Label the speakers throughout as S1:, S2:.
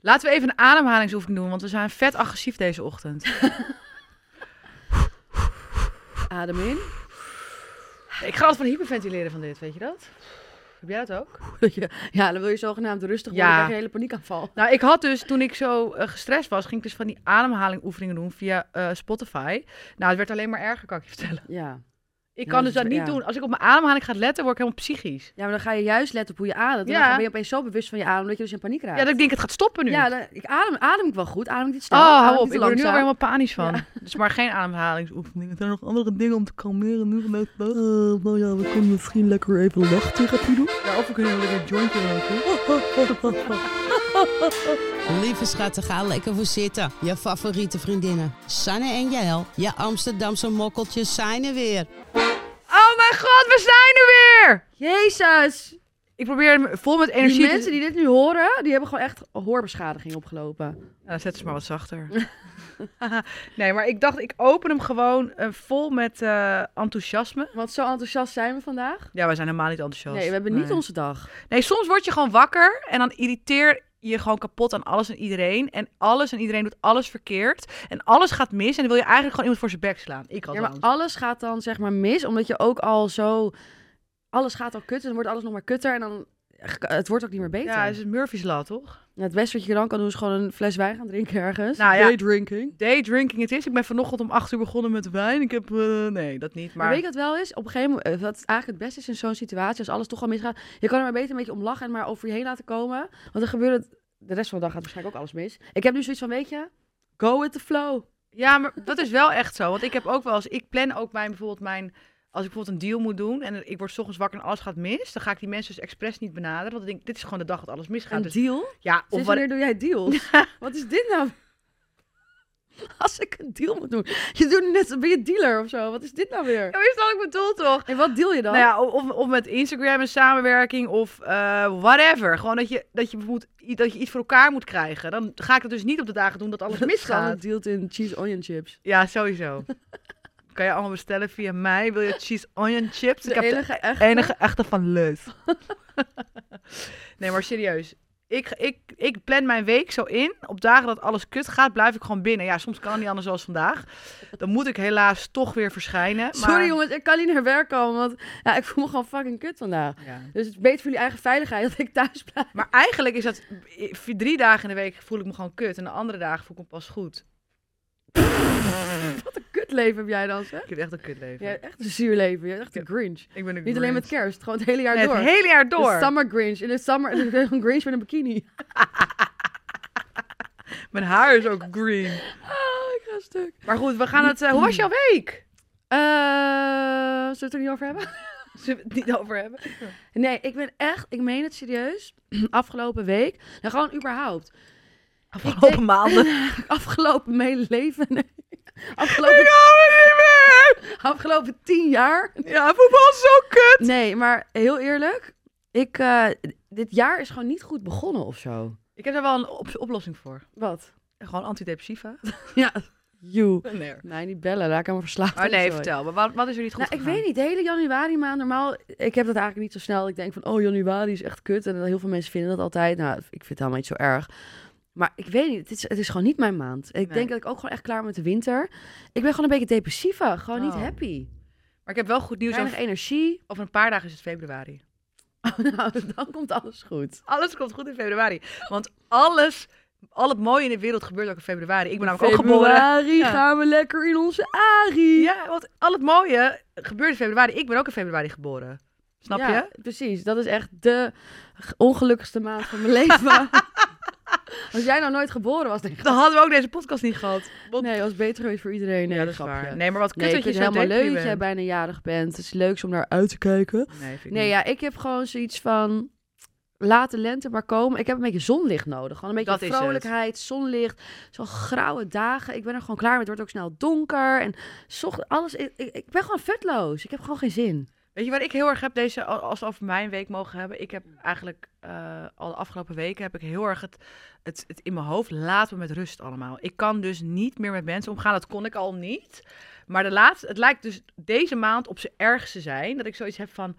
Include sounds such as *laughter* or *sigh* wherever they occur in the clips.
S1: Laten we even een ademhalingsoefening doen, want we zijn vet agressief deze ochtend.
S2: Adem in.
S1: *laughs* Ik ga altijd van hyperventileren van dit, weet je dat? Heb jij dat ook?
S2: Dat je- Ja, dan wil je zogenaamd rustig worden.
S1: Ja.
S2: Ja. krijg je een hele paniekaanval.
S1: Nou, ik had dus, toen ik zo eh, gestrest was, ging ik dus van die ademhalingoefeningen doen via eh, Spotify. Nou, het werd alleen maar erger, kan ik je *laughs* vertellen.
S2: Ja.
S1: Ik
S2: Ja,
S1: kan
S2: dat
S1: dus
S2: is-
S1: dat niet
S2: ja.
S1: doen. Als ik op mijn ademhaling ga letten, word ik helemaal psychisch.
S2: ja, maar dan ga je juist letten op hoe je ademt. En
S1: Ja.
S2: Dan ben je opeens zo bewust van je adem dat je dus in paniek
S1: Ja,
S2: raakt.
S1: dat ik denk, het gaat stoppen nu.
S2: Ja, dan- ik adem, adem ik wel goed. Adem ik dit snel?
S1: oh,
S2: adem
S1: hou
S2: ik
S1: op.
S2: niet
S1: Ik
S2: te
S1: word er nu alweer
S2: langzaam?
S1: helemaal panisch van. Dus maar geen ademhalingsoefeningen. Er zijn nog andere dingen om te kalmeren nu vanuit
S3: Eh, nou ja, we kunnen misschien lekker even lachtherapie doen.
S1: Ja, of we kunnen lekker een jointje roken.
S4: Lieve schatten, ga lekker voor zitten. Je favoriete vriendinnen, Sanne en Jael. Je Amsterdamse mokkeltjes zijn er weer.
S1: Oh mijn god, we zijn er weer!
S2: Jezus!
S1: Ik probeer hem vol met
S2: Die
S1: energie te-
S2: mensen die dit nu horen, die hebben gewoon echt hoorbeschadiging opgelopen.
S1: Nou, dan zetten ze maar wat
S2: *laughs*
S1: zachter. *laughs* nee, maar ik dacht, ik open hem gewoon eh, vol met eh, enthousiasme.
S2: Want zo enthousiast zijn we vandaag.
S1: Ja, wij zijn helemaal niet enthousiast.
S2: Nee, we hebben niet onze dag.
S1: Nee, soms word je gewoon wakker en dan irriteer je gewoon kapot aan alles en iedereen. En alles en iedereen doet alles verkeerd. En alles gaat mis en dan wil je eigenlijk gewoon iemand voor zijn bek slaan. Ik
S2: Ja,
S1: althans.
S2: maar alles gaat dan zeg maar mis, omdat je ook al zo... Alles gaat al kut en dan wordt alles nog maar kutter en dan... Het wordt ook niet meer beter.
S1: Ja, het is Murphy's Law, toch?
S2: Het beste wat je dan kan doen is gewoon een fles wijn gaan drinken ergens. Dus
S1: Nou ja,
S2: drinking.
S1: daydrinking het is. Ik ben vanochtend om acht uur begonnen met wijn. Ik heb... eh, nee, dat niet,
S2: Maar
S1: maar...
S2: weet je wat wel is? Op een gegeven moment, eh, wat eigenlijk het beste is in zo'n situatie, als alles toch al misgaat, je kan er maar beter een beetje om lachen en maar over je heen laten komen. Want dan gebeurt het, de rest van de dag gaat waarschijnlijk ook alles mis. Ik heb nu zoiets van, weet je, go with the flow.
S1: Ja, maar dat is wel echt zo. Want ik heb ook wel eens, ik plan ook mijn bijvoorbeeld mijn, als ik bijvoorbeeld een deal moet doen en ik word 's ochtends wakker en alles gaat mis, dan ga ik die mensen dus expres niet benaderen, want dan denk ik, dit is gewoon de dag dat alles misgaat.
S2: een
S1: Dus,
S2: deal?
S1: ja, of wat,
S2: Sinds wanneer doe jij
S1: *laughs*
S2: deals? wat is dit nou? *laughs* Als ik een deal moet doen. Je doet net, ben je dealer of zo? Wat is dit nou weer?
S1: Ja, Oh, is dat ik bedoel toch?
S2: En wat deal je dan?
S1: Nou ja, of, of met Instagram een samenwerking of eh, whatever. Gewoon dat je, dat, je moet, dat je iets voor elkaar moet krijgen. Dan ga ik dat dus niet op de dagen doen *laughs* dat
S2: *laughs*
S1: alles
S2: Misgaan.
S1: misgaat.
S2: dealt in cheese onion chips.
S1: Ja, *laughs* sowieso. kan je allemaal bestellen via mij. Wil je cheese onion chips?
S2: De enige echt.
S1: enige echte van Leus. *laughs* nee, maar serieus. Ik, ik, ik plan mijn week zo in. Op dagen dat alles kut gaat, blijf ik gewoon binnen. Ja, soms kan het niet anders zoals vandaag. Dan moet ik helaas toch weer verschijnen. Maar...
S2: Sorry jongens, ik kan niet naar werk komen, want ja, ik voel me gewoon fucking kut vandaag.
S1: Ja.
S2: Dus het is beter voor jullie eigen veiligheid dat ik thuis blijf.
S1: *laughs*
S2: *laughs*
S1: Maar eigenlijk is dat... Drie dagen in de week voel ik me gewoon kut. En de andere dagen voel ik me pas goed.
S2: Wat een kutleven heb jij dan, zeg.
S1: Ik heb echt een kutleven.
S2: Je hebt echt een zuur leven. Je hebt echt een grinch.
S1: Ik ben een
S2: Niet alleen met
S1: Grinch.
S2: kerst, gewoon het hele jaar
S1: Nee,
S2: door.
S1: Het hele jaar door.
S2: De summer grinch. In de *laughs* summer een grinch met een bikini. *laughs*
S1: Mijn haar is ook green.
S2: Ah, ik ga stuk.
S1: Maar goed, we gaan het... eh, hoe was jouw week?
S2: Eh, zullen we het er niet over hebben? *laughs*
S1: Zullen we het niet over hebben?
S2: Nee, ik ben echt, ik meen het serieus. *clears throat* Afgelopen week, nou gewoon überhaupt. *laughs*
S1: Afgelopen *laughs* maanden.
S2: Afgelopen mijn leven. Nee. *laughs* Afgelopen,
S1: niet meer!
S2: *laughs* afgelopen tien jaar.
S1: Ja, voetbal is zo kut.
S2: *laughs* Nee, maar heel eerlijk. Ik, eh, dit jaar is gewoon niet goed begonnen of zo.
S1: Ik heb daar wel een op- oplossing voor.
S2: Wat?
S1: Gewoon antidepressiva.
S2: Ja, you.
S1: *laughs* Nee.
S2: Nee, niet bellen. Daar kan me verslaafd
S1: Oh
S2: aan,
S1: nee,
S2: sorry.
S1: vertel. Maar wat, wat is er niet goed
S2: Nou, ik
S1: gegaan?
S2: weet niet. De hele januari maand normaal... Ik heb dat eigenlijk niet zo snel. Ik denk van, oh, januari is echt kut. En dan heel veel mensen vinden dat altijd. Nou, ik vind het helemaal niet zo erg. Maar ik weet niet. Het is, het is gewoon niet mijn maand. Ik
S1: Nee.
S2: denk dat ik ook gewoon echt klaar ben met de winter. Ik ben gewoon een beetje depressieve. Gewoon
S1: Oh.
S2: niet happy.
S1: Maar ik heb wel goed nieuws.
S2: Weinig
S1: Over,
S2: energie. *laughs*
S1: over een paar dagen is het februari.
S2: nou, dan komt alles goed.
S1: Alles komt goed in februari. Want alles, al het mooie in de wereld gebeurt ook in februari. Ik ben namelijk ook geboren.
S2: Februari
S1: Ja.
S2: gaan we lekker in onze arie.
S1: Ja, want al het mooie gebeurt in februari. Ik ben ook in februari geboren. Snap
S2: Ja,
S1: je?
S2: Precies, dat is echt de g- ongelukkigste maand van mijn *laughs* leven. Als jij nou nooit geboren was, denk ik.
S1: Dan hadden we ook deze podcast niet gehad. Want-
S2: Nee, dat was beter geweest voor iedereen. Nee,
S1: ja, dat is
S2: grapje.
S1: waar. Nee, maar wat kut
S2: Nee, ik
S1: dat je
S2: vind
S1: zo
S2: het helemaal
S1: depri
S2: leuk dat jij
S1: bent.
S2: bijna jarig bent. Het is leuks om naar uit te kijken.
S1: Nee, vind ik
S2: Nee,
S1: niet.
S2: ja, ik heb gewoon zoiets van... Laat de lente maar komen. Ik heb een beetje zonlicht nodig. Gewoon een beetje
S1: Dat is het.
S2: vrolijkheid, zonlicht. Zo'n grauwe dagen. Ik ben er gewoon klaar mee. Het wordt ook snel donker. En zocht, alles, ik, ik, ik ben gewoon vetloos. Ik heb gewoon geen zin.
S1: Weet je wat ik heel erg heb deze, al- als we over mijn week mogen hebben? Ik heb eigenlijk eh, al de afgelopen weken heb ik heel erg het, het, het in mijn hoofd, laat me met rust allemaal. Ik kan dus niet meer met mensen omgaan, dat kon ik al niet. Maar de laatste, het lijkt dus deze maand op zijn ergste zijn, dat ik zoiets heb van,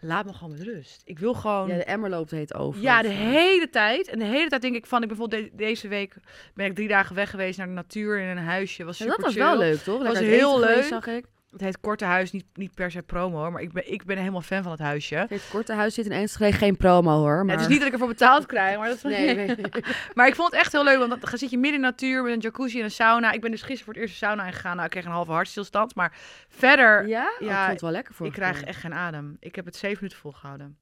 S1: laat me gewoon met rust. Ik wil gewoon...
S2: Ja, de emmer loopt heet over.
S1: Ja, de hele tijd. En de hele tijd denk ik van, ik bijvoorbeeld de- deze week ben ik drie dagen weg geweest naar de natuur in een huisje. Was
S2: Ja,
S1: super
S2: dat was wel leuk, toch? Lekker uit
S1: heel
S2: eten geweest,
S1: leuk.
S2: zag ik.
S1: Het heet Korte Huis, niet, niet per se promo hoor, maar ik ben, ik ben helemaal fan van het huisje.
S2: Het korte huis zit in Enschede, geen promo hoor. Maar...
S1: Het is niet dat ik ervoor betaald krijg, maar, dat,
S2: *laughs*
S1: *laughs*
S2: Nee, nee.
S1: maar ik vond het echt heel leuk, want dan- dan zit je midden in de natuur met een jacuzzi en een sauna. Ik ben dus gisteren voor het eerst de sauna ingegaan, nou ik kreeg een halve hartstilstand, maar verder,
S2: Ja? Oh, ik
S1: Ja,
S2: vond het wel lekker voor
S1: ik krijg echt geen adem. Ik heb het zeven minuten volgehouden.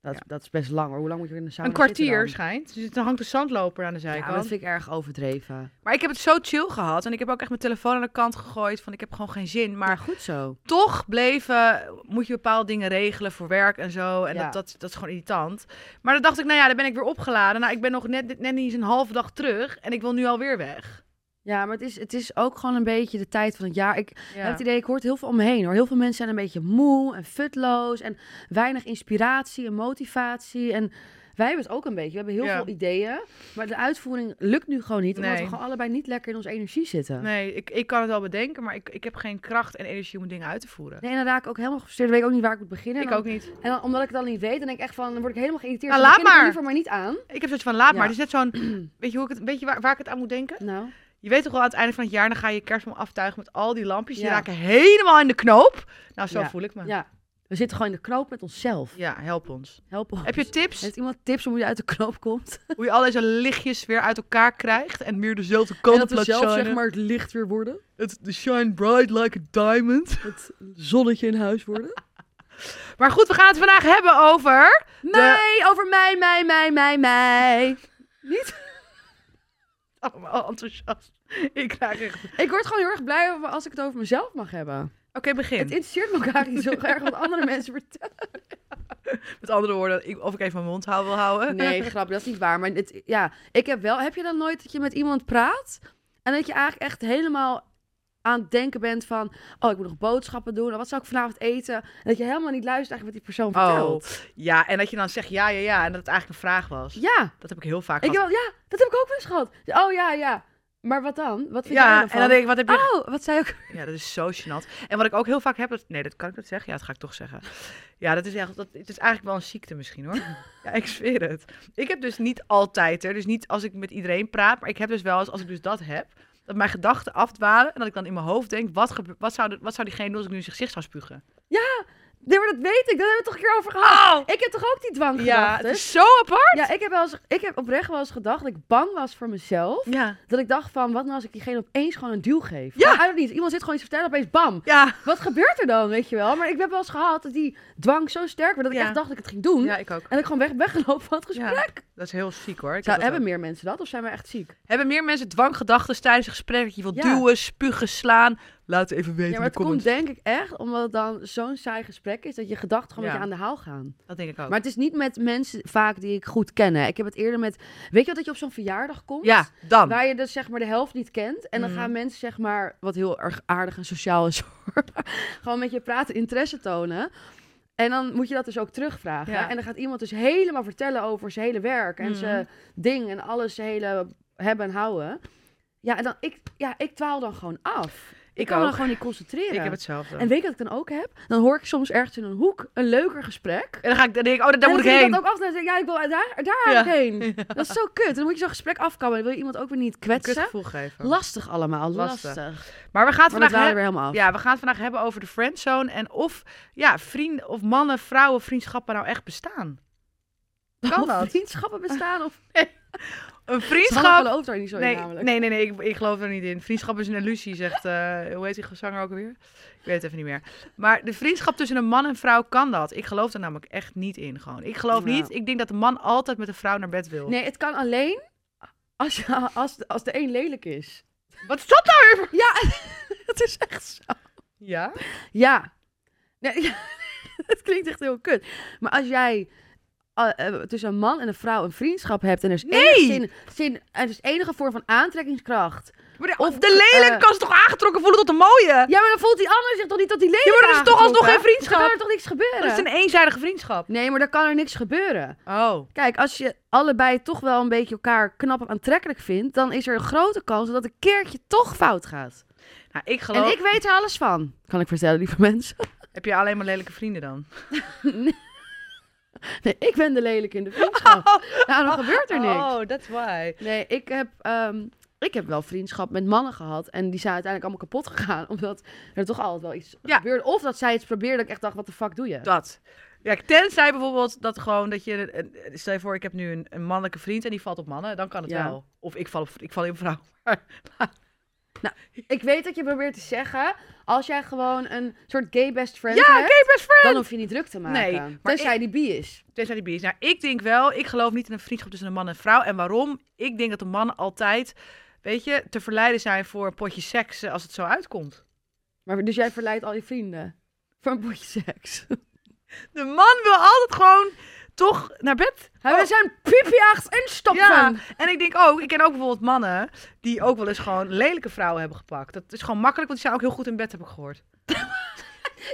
S2: Dat, dat is best lang hoor. Hoe lang moet je in de sauna
S1: een kwartier
S2: zitten
S1: schijnt, dus dan hangt de zandloper aan de
S2: dan? Ja,
S1: zijkant.
S2: maar dat vind ik erg overdreven.
S1: Maar ik heb het zo chill gehad. En ik heb ook echt mijn telefoon aan de kant gegooid. Van ik heb gewoon geen zin.
S2: Maar
S1: Maar
S2: goed zo.
S1: toch bleven. Moet je bepaalde dingen regelen voor werk en zo. En
S2: Ja.
S1: dat, dat, dat is gewoon irritant. Maar dan dacht ik, nou ja, dan ben ik weer opgeladen. Nou, ik ben nog net, net niet eens een halve dag terug. En ik wil nu alweer weg.
S2: Ja, maar het is, het is ook gewoon een beetje de tijd van het jaar. Ik heb
S1: Ja.
S2: het idee, ik hoor het heel veel om me heen hoor. Heel veel mensen zijn een beetje moe en futloos en weinig inspiratie en motivatie. En wij hebben het ook een beetje. We hebben heel
S1: Ja.
S2: veel ideeën, maar de uitvoering lukt nu gewoon niet. Omdat
S1: Nee.
S2: we gewoon allebei niet lekker in onze energie zitten.
S1: Nee, ik, ik kan het wel bedenken. Maar ik, ik heb geen kracht en energie om dingen uit te voeren.
S2: Nee, en dan raak ik ook helemaal gefrustreerd. Dan weet ik ook niet waar ik moet beginnen. En
S1: Ik
S2: dan-
S1: ook niet.
S2: En dan, omdat ik het dan niet weet, dan denk ik echt van, dan word ik helemaal geïrriteerd.
S1: Nou,
S2: Dan
S1: laat
S2: begin ik er
S1: maar.
S2: liever maar niet aan.
S1: Ik heb zoiets van laat
S2: Ja.
S1: maar. Het is net
S2: *clears throat*
S1: zo'n. Weet je, hoe ik het, weet je waar, waar ik het aan moet denken?
S2: Nou,
S1: Je weet toch wel, aan het einde van het jaar dan ga je kerstboom aftuigen met al die lampjes. Die
S2: Ja.
S1: raken helemaal in de knoop. Nou, zo
S2: Ja.
S1: voel ik me.
S2: ja. We zitten gewoon in de knoop met onszelf.
S1: Ja, help ons.
S2: Help ons.
S1: Heb je tips
S2: Heeft iemand tips om hoe je uit de knoop komt? *laughs*
S1: hoe je al deze lichtjes weer uit elkaar krijgt en meer dezelfde
S2: En
S1: kant
S2: dat
S1: op
S2: we
S1: laat
S2: zelf
S1: shinen?
S2: zeg maar het licht weer worden.
S1: Het de shine bright like a diamond.
S2: Het
S3: Zonnetje in huis
S1: *laughs*
S3: worden.
S1: Maar goed, we gaan het vandaag hebben over...
S2: mij, over mij, mij, mij, mij, mij.
S1: Allemaal Oh, enthousiast. Ik krijg echt... Oké,
S2: Ik word gewoon heel erg blij over- als ik het over mezelf mag hebben.
S1: begin.
S2: Het interesseert me elkaar niet zo erg wat andere *laughs* mensen vertellen.
S1: Met andere woorden, ik- of ik even mijn mond hou wil houden.
S2: Nee, grap, dat is niet waar. Maar het, ja, ik heb wel. Heb je dan nooit dat je met iemand praat en dat je eigenlijk echt helemaal aan het denken bent van, oh, ik moet nog boodschappen doen. en Wat zou ik vanavond eten? En dat je helemaal niet luistert eigenlijk wat die persoon
S1: Oh,
S2: vertelt.
S1: *laughs* ja, en dat je dan zegt ja, ja, ja, en dat het eigenlijk een vraag was.
S2: Ja,
S1: Dat heb ik heel vaak
S2: ik heb,
S1: gehad.
S2: wel- ja, dat heb ik ook wel eens gehad. Oh ja, ja. Maar wat dan? Wat vind jij
S1: Ja,
S2: dan
S1: en dan denk ik, wat heb je
S2: Oh, wat zei ik? *laughs*
S1: Ja, dat is zo gênant. En wat ik ook heel vaak heb, dat, nee, dat kan ik dat zeggen? Ja, dat ga ik toch zeggen. Ja, dat is echt, dat, het is eigenlijk wel een ziekte misschien
S2: *laughs*
S1: hoor. Ja, ik zweer het. Ik heb dus niet altijd, hè, dus niet als ik met iedereen praat, maar ik heb dus wel eens, als ik dus dat heb, dat mijn gedachten afdwalen en dat ik dan in mijn hoofd denk, wat, gebe- wat, zou, de- wat zou diegene doen als ik nu in zijn gezicht zou spugen?
S2: Nee, maar dat weet ik. Daar hebben we het toch een keer over gehad. Ik heb toch ook die dwang
S1: Oh. Ja, het is zo apart.
S2: Ja, ik heb, wel eens, ik heb oprecht wel eens gedacht dat ik bang was voor mezelf.
S1: Ja.
S2: Dat ik dacht van, wat nou als ik diegene opeens gewoon een duw geef?
S1: Ja.
S2: Maar Eigenlijk niet. Iemand zit gewoon iets te vertellen, opeens bam.
S1: Ja.
S2: Wat gebeurt er dan, weet je wel? Maar ik heb wel eens gehad dat die dwang zo sterk werd dat ik
S1: Ja.
S2: echt dacht dat ik het ging doen.
S1: ja, ik ook.
S2: En dat ik gewoon weg, weggelopen van het
S1: Ja.
S2: gesprek.
S1: Dat is heel ziek hoor. Ik heb
S2: Zou,
S1: dat
S2: hebben
S1: ook.
S2: meer mensen dat of zijn we echt ziek?
S1: hebben meer mensen dwanggedachten tijdens een gesprek dat je wilt
S2: Ja.
S1: duwen, spugen, slaan? Laat het even weten
S2: Ja, maar
S1: in
S2: het
S1: de comments.
S2: komt denk ik echt omdat het dan zo'n saai gesprek is dat je gedachten gewoon
S1: Ja.
S2: met je aan de haal gaan.
S1: Dat denk ik ook.
S2: Maar het is niet met mensen vaak die ik goed ken. Hè. Ik heb het eerder met. Weet je wat dat je op zo'n verjaardag komt?
S1: ja, dan.
S2: Waar je dus zeg maar de helft niet kent. En dan
S1: Mhm.
S2: gaan mensen zeg maar, wat heel erg aardig en sociaal is *laughs* hoor. Gewoon met je praten, interesse tonen. En dan moet je dat dus ook terugvragen.
S1: Ja.
S2: En dan gaat iemand dus helemaal vertellen over zijn hele werk. En
S1: Mhm.
S2: zijn ding en alles, zijn hele hebben en houden. Ja, en dan, ik, ja, ik dwaal dan gewoon af. Ik, kan me dan gewoon niet concentreren.
S1: Ik heb hetzelfde.
S2: En
S1: En,
S2: weet je wat ik dan ook heb? Dan hoor ik soms ergens in een hoek een leuker gesprek.
S1: dan ga ik dan denk ik, oh, daar, daar
S2: En
S1: moet ik
S2: dan
S1: heen.
S2: vind dat ook af en dan denk ik, ja, ik wil daar,
S1: *laughs*
S2: daar
S1: Ja.
S2: eigenlijk heen. Dat is zo kut. Dan moet je zo'n gesprek afkomen. Dan wil je iemand ook weer niet
S1: Een
S2: kwetsen.
S1: kutgevoel geven.
S2: Lastig allemaal,
S1: Lastig.
S2: lastig.
S1: maar we gaan het
S2: Maar
S1: vandaag
S2: dat waren we
S1: hebben.
S2: weer helemaal af.
S1: Ja, we gaan het vandaag hebben over de friendzone en of ja, vrienden of mannen, vrouwen, vriendschappen nou echt bestaan. Kan
S2: Of
S1: dat?
S2: vriendschappen bestaan of
S1: Een
S2: vriendschap?
S1: vriendschap.
S2: gelooft daar niet zo
S1: Nee,
S2: in namelijk.
S1: nee, nee, nee ik, ik geloof er niet in. Vriendschap is een illusie, zegt, eh, hoe heet die zanger ook alweer? Ik weet het even niet meer. Maar de vriendschap tussen een man en vrouw kan dat. Ik geloof daar namelijk echt niet in gewoon. Ik geloof
S2: Nou.
S1: niet, ik denk dat de man altijd met de vrouw naar bed wil.
S2: Nee, het kan alleen als, je, als, als de een lelijk is.
S1: Wat is dat nou? *laughs*
S2: Ja, dat is echt zo.
S1: Ja?
S2: *laughs* Ja. Nee, het klinkt echt heel kut. Maar als jij eh, eh, tussen een man en een vrouw een vriendschap hebt en er is
S1: Nee!
S2: enige zin, zin, er is enige vorm van aantrekkingskracht.
S1: of de lelijke
S2: eh,
S1: kan ze toch aangetrokken voelen tot de mooie?
S2: Ja, maar dan voelt die ander zich toch niet dat die lelijk
S1: Ja, maar dat is toch alsnog geen vriendschap?
S2: Dan kan er toch niks gebeuren?
S1: Dat is een eenzijdige vriendschap.
S2: Nee, maar dan kan er niks gebeuren.
S1: Oh.
S2: Kijk, als je allebei toch wel een beetje elkaar knap en aantrekkelijk vindt, dan is er een grote kans dat het een keertje toch fout gaat.
S1: Nou, ik geloof...
S2: En ik weet er alles van. Kan ik vertellen, lieve mensen. *laughs*
S1: Heb je alleen maar lelijke vrienden dan?
S2: Nee, ik ben de lelijke in de vriendschap. nou, dan gebeurt er niks.
S1: Oh, that's why.
S2: Nee, ik heb, ehm, ik heb wel vriendschap met mannen gehad. En die zijn uiteindelijk allemaal kapot gegaan. *laughs* Omdat er toch altijd wel iets
S1: Ja.
S2: gebeurde. Of dat zij iets probeerden. Ik echt dacht, wat de fuck doe je?
S1: Dat. Ja, tenzij bijvoorbeeld dat gewoon dat je... een- een- Stel je voor, ik heb nu een, een mannelijke vriend en die valt op mannen. Dan kan het
S2: Ja.
S1: wel. Of ik val, op, ik val in vrouw.
S2: Ik weet dat je probeert te zeggen. Als jij gewoon een soort gay best friend
S1: Ja,
S2: hebt.
S1: gay Ah, best friend!
S2: Dan hoef je niet druk te maken.
S1: Nee, maar
S2: Tenzij die bi is.
S1: Tenzij die bi is. Nou, ik denk wel, ik geloof niet in een vriendschap tussen een man en een vrouw. En waarom? Ik denk dat de mannen altijd, weet je, te verleiden zijn voor een potje seks eh, als het zo uitkomt.
S2: Maar, dus jij verleidt al je vrienden. Voor een potje *laughs* seks.
S1: De man wil altijd gewoon toch naar bed.
S2: Hij wil zijn piepjaagd en stoppen.
S1: Ja, en ik denk ook, ik ken ook bijvoorbeeld mannen die ook wel eens gewoon lelijke vrouwen hebben gepakt. Dat is gewoon makkelijk, want die zijn ook heel goed in bed, heb ik gehoord.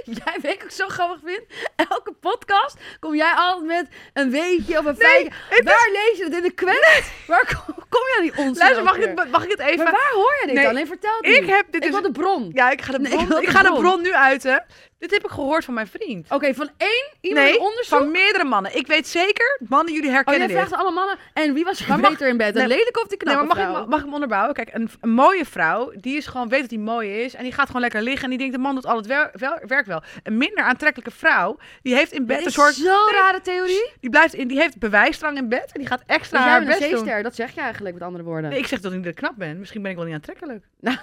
S2: Jij weet wat ik zo grappig vind. Elke podcast kom jij altijd met een weetje of een feitje.
S1: het
S2: Waar lees je dat in de kwet? Waar kom, kom jij die onzin?
S1: Luister, mag
S2: ook
S1: ik, het,
S2: weer?
S1: mag ik het even...
S2: Maar waar hoor jij dit
S1: Nee,
S2: dan? Nee, vertel het
S1: ik
S2: nu.
S1: heb... Dit dus-
S2: ik dus
S1: is,
S2: wil de bron.
S1: Ja, ik ga, de
S2: Nee,
S1: bron,
S2: ik wil
S1: ik
S2: de
S1: ga de
S2: bron.
S1: bron nu uiten. Dit heb ik gehoord van mijn vriend.
S2: Oké, van één iemand
S1: nee,
S2: een onderzoek.
S1: van meerdere mannen. Ik weet zeker, mannen, jullie
S2: Oh,
S1: herkennen
S2: jij
S1: dit.
S2: vraagt allemaal mannen. En wie was er
S1: Maar mag-
S2: beter in bed? Een
S1: Nee,
S2: lelijke of
S1: Nee,
S2: die knappe
S1: maar mag ik,
S2: vrouw?
S1: mag ik hem onderbouwen? Kijk, een, een mooie vrouw, die is gewoon, weet dat die mooi is. En die gaat gewoon lekker liggen. En die denkt, de man doet al het wer- wel- werk wel. Een minder aantrekkelijke vrouw, die heeft in
S2: Dit
S1: bed een
S2: is
S1: soort...
S2: zo'n
S1: Nee,
S2: rare theorie.
S1: Die, blijft in, die heeft bewijsdrang in bed. En die gaat extra
S2: Dus jij
S1: haar
S2: bent
S1: best
S2: een
S1: doen.
S2: zeester, dat zeg je eigenlijk met andere woorden.
S1: Nee, ik zeg dat ik niet dat ik knap ben. Misschien ben ik wel niet aantrekkelijk.
S2: Nou.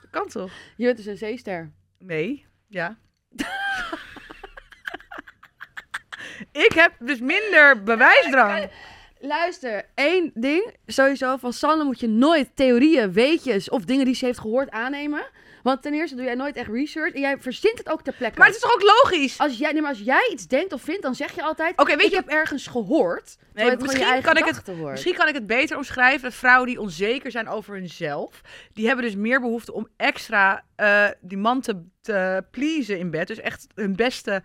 S1: Dat kan toch?
S2: Je bent dus een zeester.
S1: Nee. *laughs* Ja. ik heb dus minder bewijsdrang.
S2: Luister, één ding. Sowieso, van Sanne moet je nooit theorieën, weetjes of dingen die ze heeft gehoord aannemen. Want ten eerste doe jij nooit echt research en jij verzint het ook ter plekke.
S1: Maar het is toch ook logisch?
S2: als, jij, nee, maar als jij iets denkt of vindt, dan zeg je altijd...
S1: Oké, weet
S2: ik
S1: je-
S2: heb ergens gehoord. terwijl het gewoon
S1: misschien
S2: je eigen
S1: kan ik het-
S2: gedachten wordt.
S1: Misschien kan ik het beter omschrijven. Dat vrouwen die onzeker zijn over hunzelf, die hebben dus meer behoefte om extra eh, die man te, te pleasen in bed. Dus echt hun beste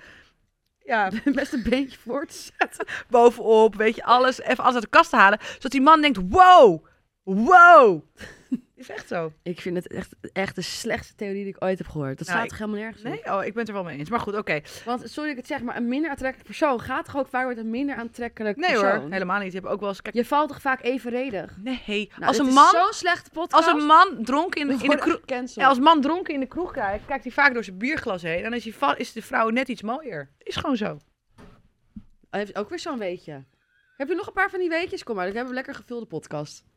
S1: ja,
S2: *laughs*
S1: *laughs*
S2: Best een beetje voor te zetten.
S1: bovenop, weet je, alles even alles uit de kast te halen. Zodat die man denkt, wow, wow. *laughs* Is echt zo.
S2: Ik vind het echt, echt de slechtste theorie die ik ooit heb gehoord. Dat
S1: Nou,
S2: staat
S1: ik-
S2: toch helemaal nergens op?
S1: Nee? Oh, ik ben het er wel mee eens. Maar goed, oké.
S2: Want, sorry dat ik het zeg, maar een minder aantrekkelijk persoon gaat toch ook vaak met een minder aantrekkelijk
S1: Nee
S2: persoon?
S1: hoor, helemaal niet. Je hebt ook wel eens... Kijk,
S2: Je valt toch vaak evenredig?
S1: nee.
S2: Nou,
S1: als,
S2: dit
S1: een
S2: is
S1: man,
S2: zo'n slechte podcast.
S1: als een man dronken in,
S2: We
S1: de- in de
S2: worden
S1: kroeg...
S2: gecanceld.
S1: Ja, als man dronken in de kroeg kijkt, kijkt hij vaak door zijn bierglas heen. En dan is, hij va- is de vrouw net iets mooier. Is gewoon zo.
S2: Oh, heeft ook weer zo'n weetje. Heb je nog een paar van die weetjes? Kom maar, dan hebben we een lekker gevulde podcast.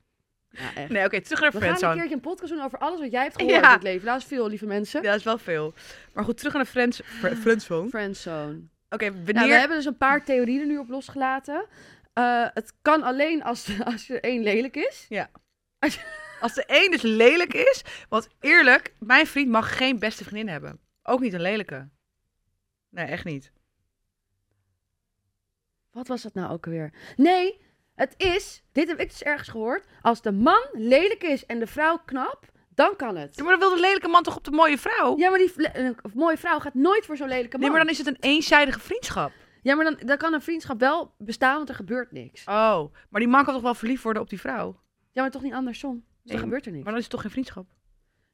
S2: Ja, echt.
S1: Nee, oké, terug naar
S2: We gaan een
S1: Friendzone.
S2: keertje een podcast doen over alles wat jij
S1: *laughs*
S2: hebt gehoord
S1: Ja.
S2: in het leven. Laat veel, lieve mensen.
S1: Ja, dat is wel veel. Maar goed, terug naar de friends, fr- Friendzone. Oké,
S2: Friendzone.
S1: wanneer...
S2: Nou, we hebben dus een paar theorieën er nu op losgelaten. Eh, het kan alleen als, *laughs* als er één lelijk is.
S1: Als de een dus lelijk is... Want eerlijk, mijn vriend mag geen beste vriendin hebben. Ook niet een lelijke. Nee, echt niet.
S2: Wat was dat nou ook alweer? Nee, het is, dit heb ik dus ergens gehoord. Als de man lelijk is en de vrouw knap, dan kan het.
S1: Ja, maar dan wil de lelijke man toch op de mooie vrouw?
S2: Ja, maar die vle- een mooie vrouw gaat nooit voor zo'n lelijke man.
S1: Nee, maar dan is het een eenzijdige vriendschap.
S2: Ja, maar dan, dan kan een vriendschap wel bestaan, want er gebeurt niks.
S1: Oh, maar die man kan toch wel verliefd worden op die vrouw?
S2: Ja, maar toch niet andersom. Dus
S1: Nee,
S2: dan gebeurt er niks.
S1: Maar dan is het toch geen vriendschap?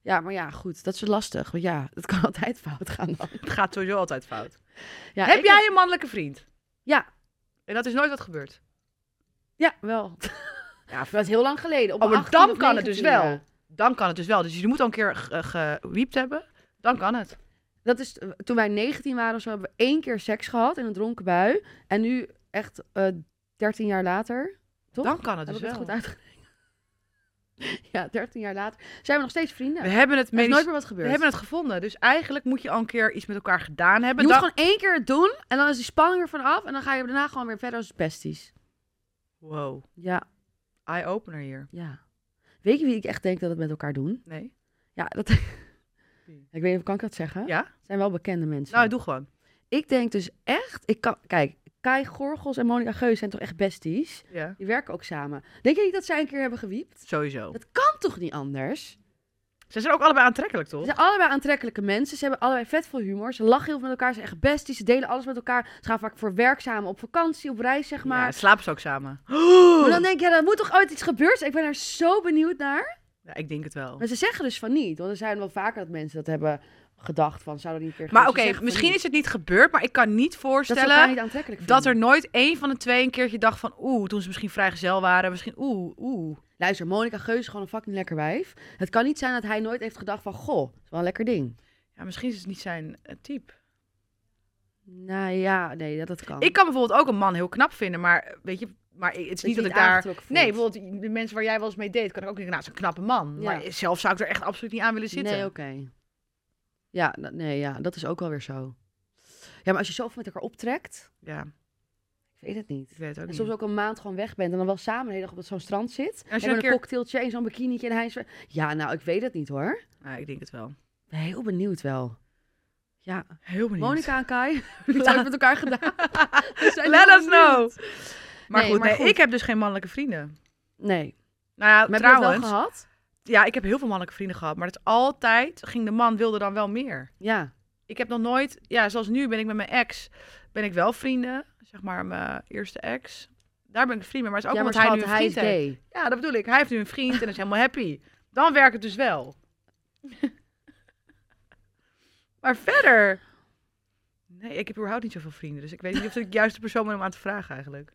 S2: Ja, maar ja, goed. Dat is lastig. Want ja, het kan *laughs* altijd fout gaan dan.
S1: Het gaat sowieso altijd fout.
S2: Ja,
S1: Heb
S2: ik-
S1: jij een mannelijke vriend?
S2: Ja.
S1: En dat is nooit wat gebeurd.
S2: Ja, wel. *laughs* Ja, dat is heel lang geleden. Op
S1: Oh,
S2: mijn
S1: maar dan
S2: 18e of
S1: kan het dus
S2: 19e.
S1: wel. Dan kan het dus wel. Dus je moet al een keer ge- gewiept hebben. Dan kan het.
S2: Dat is, eh, toen wij 19 waren of zo, hebben we één keer seks gehad in een dronken bui. En nu echt eh 13 jaar later, toch?
S1: Dan kan het dus
S2: Heb ik het
S1: wel.
S2: goed uitgerekend? *laughs* ja, 13 jaar later zijn we nog steeds vrienden.
S1: We hebben het,
S2: er is
S1: medisch-
S2: nooit meer wat
S1: we
S2: gebeurd.
S1: hebben het gevonden. Dus eigenlijk moet je al een keer iets met elkaar gedaan
S2: je
S1: hebben.
S2: moet
S1: Dan-
S2: gewoon één keer het doen en dan is die spanning ervan af. En dan ga je daarna gewoon weer verder als besties.
S1: Wow,
S2: Ja,
S1: eye-opener hier.
S2: ja. Weet je wie ik echt denk dat het met elkaar doen?
S1: Nee?
S2: Ja, dat... *laughs* ik weet niet of kan ik dat zeggen.
S1: Ja?
S2: Het zijn wel bekende mensen.
S1: Nou, doe gewoon.
S2: Ik denk dus echt, ik kan, kijk, Kai Gorgels en Monica Geus zijn toch echt besties?
S1: Ja,
S2: Die werken ook samen. Denk je niet dat zij een keer hebben gewiept?
S1: sowieso.
S2: Dat kan toch niet anders?
S1: Oh. Ze zijn ook allebei aantrekkelijk,
S2: Ze
S1: toch?
S2: zijn allebei aantrekkelijke mensen. Ze hebben allebei vet veel humor. Ze lachen heel veel met elkaar. Ze zijn echt besties. Ze delen alles met elkaar. Ze gaan vaak voor werk samen, op vakantie, op reis, zeg maar.
S1: Ja, slapen ze ook samen.
S2: Maar dan denk je, ja, er moet toch ooit iets gebeurd zijn? Ik ben daar zo benieuwd
S1: *gasps*
S2: naar.
S1: Ja, ik denk het wel.
S2: Maar ze zeggen dus van niet. Want er zijn wel vaker dat mensen dat hebben gedacht van, zou dat niet een keer
S1: Maar
S2: gebeuren?
S1: oké,
S2: Ze zeggen van
S1: misschien
S2: niet.
S1: is het niet gebeurd, maar ik kan niet
S2: dat ze elkaar
S1: voorstellen
S2: niet aantrekkelijk
S1: dat
S2: vinden.
S1: er nooit één van de twee een keertje dacht van oeh, toen ze misschien vrijgezel waren, misschien oeh, oeh.
S2: Luister, Monica Geus is gewoon een fucking lekker wijf. Het kan niet zijn dat hij nooit heeft gedacht van, goh, dat is wel een lekker ding.
S1: Ja, misschien is het niet zijn eh, type.
S2: Nou ja, nee, dat, dat kan.
S1: Ik kan bijvoorbeeld ook een man heel knap vinden, maar weet je, maar ik- het is
S2: Dat
S1: niet
S2: je
S1: dat ik
S2: niet
S1: daar.
S2: aangetrokken voelt.
S1: Nee, bijvoorbeeld de mensen waar jij wel eens mee deed, kan ik ook denken, nou, dat is een knappe man.
S2: Ja.
S1: Maar zelf zou ik er echt absoluut niet aan willen zitten.
S2: Nee, oké. Ja, dat- nee, ja, dat is ook wel weer zo. Ja, maar als je zoveel met elkaar optrekt,
S1: Ja,
S2: ik weet het niet.
S1: ik weet het ook
S2: En
S1: niet.
S2: soms ook een maand gewoon weg bent en dan wel samen de hele dag op zo'n strand zit.
S1: En als je
S2: en
S1: een
S2: met
S1: keer-
S2: een cocktailtje en zo'n bikinietje en hij is... weer- Ja, nou, ik weet het niet hoor.
S1: Ja, ik denk het wel.
S2: Ik ben heel benieuwd wel. Ja,
S1: Heel benieuwd.
S2: Monica en
S1: *laughs*
S2: Kai, hebben het ooit met elkaar gedaan? We zijn
S1: Let
S2: heel
S1: us
S2: benieuwd.
S1: know. Maar,
S2: Nee,
S1: goed,
S2: maar
S1: nee,
S2: goed.
S1: ik heb dus geen mannelijke vrienden.
S2: Nee,
S1: Nou ja,
S2: maar heb je dat wel
S1: trouwens.
S2: gehad?
S1: Ja, ik heb heel veel mannelijke vrienden gehad, maar het is altijd ging de man wilde dan wel meer.
S2: Ja,
S1: Ik heb nog nooit, ja, zoals nu ben ik met mijn ex, ben ik wel vrienden, zeg maar mijn eerste ex. Daar ben ik vriend mee, maar het is ook
S2: ja maar
S1: omdat hij nu
S2: schat,
S1: een
S2: hij is
S1: vriend heeft.
S2: gay.
S1: Ja, dat bedoel ik. Hij heeft nu een vriend en is helemaal happy. Dan werkt het dus wel. maar verder. Nee, ik heb überhaupt niet zoveel vrienden. Dus ik weet niet of ik de juiste persoon ben om aan te vragen eigenlijk.